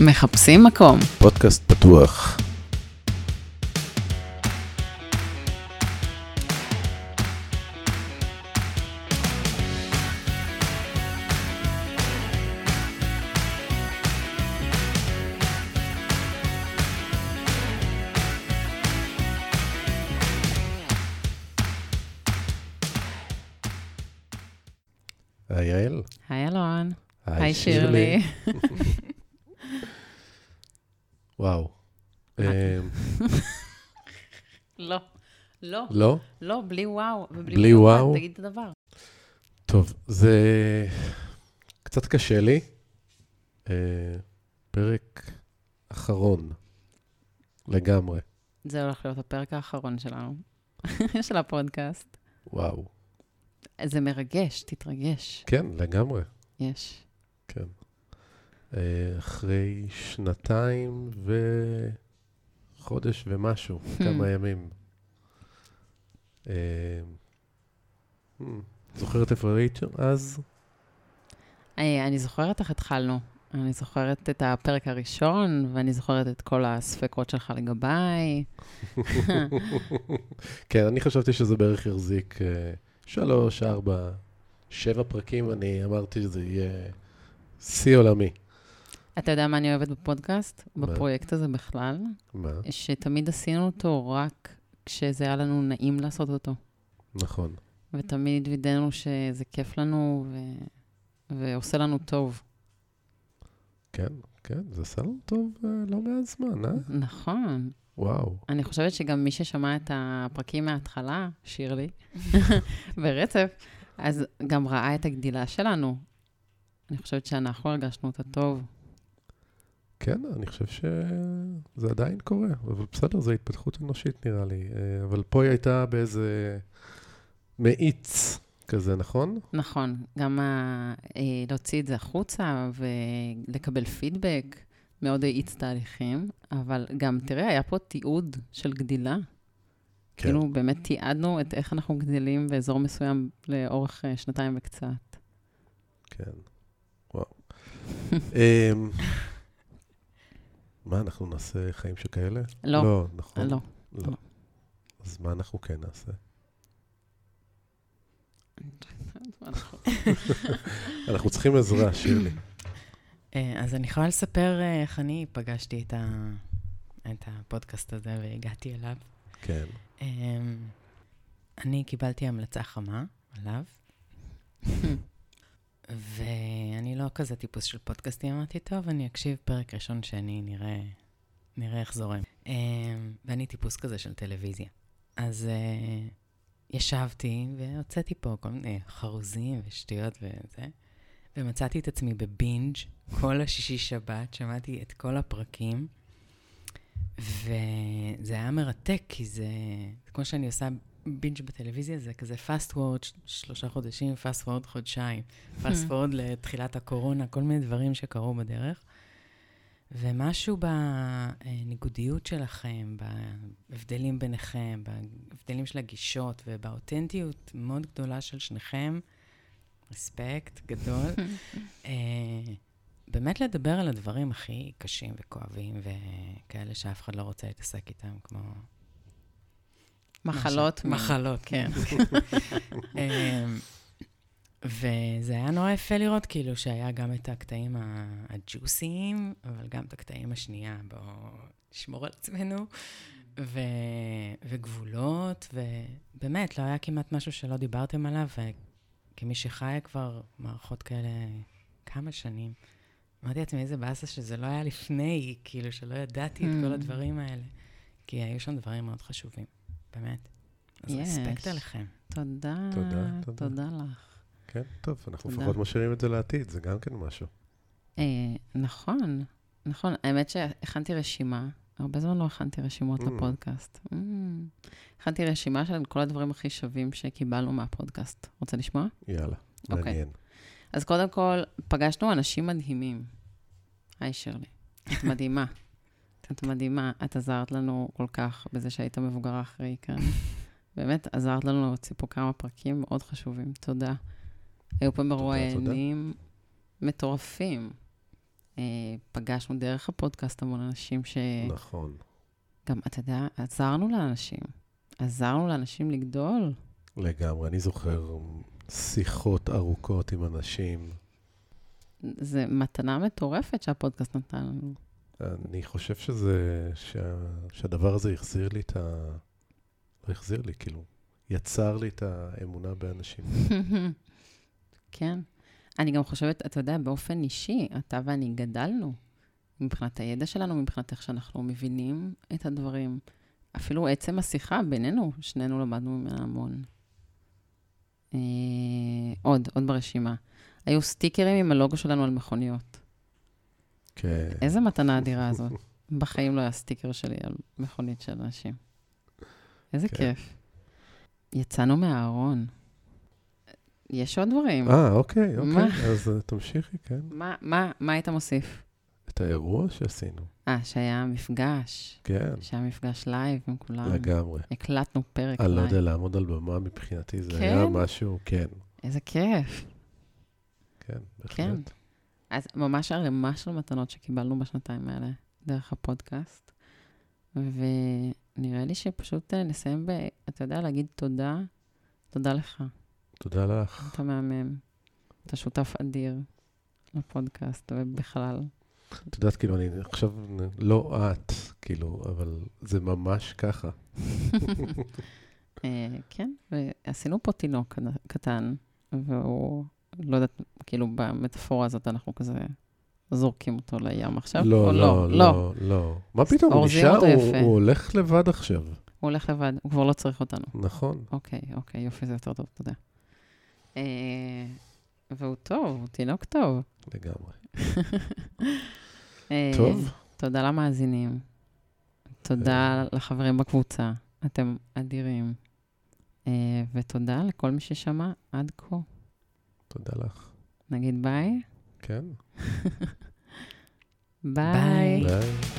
מחפשים מקום. פודקאסט פתוח. היי יעל. היי אלון. היי שירלי. וואו. אוקיי. אמ, לא. לא. לא? לא, בלי וואו. ובלי בלי מיוחד, וואו? תגיד את הדבר. טוב, זה קצת קשה לי. אה, פרק אחרון לגמרי. זה הולך להיות הפרק האחרון שלנו, של הפודקאסט. וואו. זה מרגש, תתרגש. כן, לגמרי. יש. כן. אה, אחרי שנתיים וחודש ומשהו, Hmm. כמה ימים. אה, מ, hmm. זוכרת איפה היית שם אז? היי, אני זוכרת איך התחלנו. אני זוכרת את הפרק הראשון, ואני זוכרת את כל הספקות שלך לגביי. כן, אני חשבתי שזה בערך יחזיק אה, שלוש, ארבע, שבע פרקים, אני אמרתי שזה יהיה שיא עולמי. אתה יודע מה אני אוהבת בפודקאסט? מה? בפרויקט הזה בכלל? מה? שתמיד עשינו אותו רק כשזה היה לנו נעים לעשות אותו. נכון. ותמיד וידאנו שזה כיף לנו ו... ועושה לנו טוב. כן, כן, זה סל טוב אה, לא מעט זמן, אה? נכון. וואו. אני חושבת שגם מי ששמע את הפרקים מההתחלה, שירלי, ברצף, אז גם ראה את הגדילה שלנו. אני חושבת שאנחנו הרגשנו אותה טוב. כן, אני חושב שזה עדיין קורה, אבל בסדר, זו התפתחות אנושית נראה לי. אה, אבל פה היא הייתה באיזה מאיץ כזה, נכון? נכון, גם ה... אה, להוציא את זה החוצה ולקבל פידבק מאוד האיץ תהליכים, אבל גם, תראה, היה פה תיעוד של גדילה. כן. כאילו, באמת תיעדנו את איך אנחנו גדלים באזור מסוים לאורך אה, שנתיים וקצת. כן, וואו. אמ, מה, אנחנו נעשה חיים שכאלה? לא, לא, אה, נכון. לא. לא. לא. אז מה אנחנו כן נעשה? אנחנו צריכים עזרה, שירלי. אה, אז אני יכולה לספר אה, איך אני פגשתי את, ה... את הפודקאסט הזה והגעתי אליו. כן. אה, אני קיבלתי המלצה חמה עליו, ואני לא כזה טיפוס של פודקאסטים, אמרתי, טוב, אני אקשיב פרק ראשון שני, נראה, נראה איך זורם. אה, ואני טיפוס כזה של טלוויזיה. אז אה, ישבתי והוצאתי פה כל מיני חרוזים ושטויות וזה, ומצאתי את עצמי בבינג' כל השישי שבת, שמעתי את כל הפרקים, וזה היה מרתק, כי זה, כמו שאני עושה בינג' בטלוויזיה, זה כזה fast forward ש- שלושה חודשים, fast forward חודשיים, fast forward לתחילת הקורונה, כל מיני דברים שקרו בדרך. ומשהו בניגודיות שלכם, בהבדלים ביניכם, בהבדלים של הגישות ובאותנטיות מאוד גדולה של שניכם, רספקט גדול. אה, באמת לדבר על הדברים הכי קשים וכואבים וכאלה שאף אחד לא רוצה להתעסק איתם, כמו... מחלות. מה ש- מין. מחלות, כן. כן. אמ, וזה היה נורא יפה לראות, כאילו, שהיה גם את הקטעים ה- הג'וסיים, אבל גם את הקטעים השנייה, בואו נשמור על עצמנו, ו... וגבולות, ובאמת, לא היה כמעט משהו שלא דיברתם עליו, וכמי שחיה כבר מערכות כאלה כמה שנים, אמרתי לעצמי, איזה באסה שזה לא היה לפני, כאילו, שלא ידעתי את כל Mm. הדברים האלה, כי היו שם דברים מאוד חשובים, באמת. אז יש. רספקט עליכם. תודה, תודה, תודה. תודה לך. כן, טוב, אנחנו תודה. לפחות משאירים את זה לעתיד, זה גם כן משהו. אה, נכון, נכון. האמת שהכנתי רשימה, הרבה זמן לא הכנתי רשימות Mm. לפודקאסט. Mm. הכנתי רשימה של כל הדברים הכי שווים שקיבלנו מהפודקאסט. רוצה לשמוע? יאללה, אוקיי. מעניין. אז קודם כל, פגשנו אנשים מדהימים. היי, שירלי. את מדהימה. את מדהימה. את עזרת לנו כל כך בזה שהיית מבוגרה אחרי כאן. באמת, עזרת לנו להוציא פה כמה פרקים מאוד חשובים. תודה. היו פה מרואיינים מטורפים. אה, פגשנו דרך הפודקאסט המון אנשים ש... נכון. גם, אתה יודע, עזרנו לאנשים. עזרנו לאנשים לגדול. לגמרי. אני זוכר שיחות ארוכות עם אנשים. זו מתנה מטורפת שהפודקאסט נתן לנו. אני חושב שזה, שה, שהדבר הזה החזיר לי את ה... לא החזיר לי, כאילו, יצר לי את האמונה באנשים. כן. אני גם חושבת, אתה יודע, באופן אישי, אתה ואני גדלנו מבחינת הידע שלנו, מבחינת איך שאנחנו מבינים את הדברים. אפילו עצם השיחה בינינו, שנינו למדנו ממנה המון. אה, עוד, עוד ברשימה. היו סטיקרים עם הלוגו שלנו על מכוניות. כן. איזה מתנה אדירה הזאת. בחיים לא היה סטיקר שלי על מכונית של אנשים. איזה כן. כיף. יצאנו מהארון. יש עוד דברים. אה, אוקיי, מה? אוקיי. אז אה, תמשיכי, כן. מה, מה, מה היית מוסיף? את האירוע שעשינו. אה, שהיה מפגש. כן, שהיה מפגש לייב עם כולם. לגמרי. הקלטנו פרק אני לא לייב. יודע, לעמוד על במה מבחינתי זה כן? היה משהו, כן, איזה כיף. כן, כן. בהחלט. אז ממש ערימה של מתנות שקיבלנו בשנתיים האלה דרך הפודקאסט. ונראה לי שפשוט אה, נסיים ב... אתה יודע, להגיד תודה. תודה לך. תודה לך. אתה מהמם. אתה שותף אדיר לפודקאסט ובכלל. את יודעת, כאילו, אני עכשיו, לא את, כאילו, אבל זה ממש ככה. אה, כן, ועשינו פה תינוק קט- קטן, והוא, לא יודעת, כאילו במטאפורה הזאת אנחנו כזה זורקים אותו לים עכשיו, או לא, לא, לא. לא, לא. מה פתאום, הוא אורזים נשאר, אותו הוא- יפה. הוא הולך לבד עכשיו, הוא הולך לבד, הוא כבר לא צריך אותנו. נכון? אוקיי, אוקיי, יופי, זה יותר טוב, תודה. אה, והוא טוב, הוא תינוק טוב. לגמרי. אה, טוב, תודה למאזינים. תודה לחברים בקבוצה. אתם אדירים. אה, ותודה לכל מי ששמע עד כה. תודה לך. נגיד ביי. כן, ביי. אה. ביי.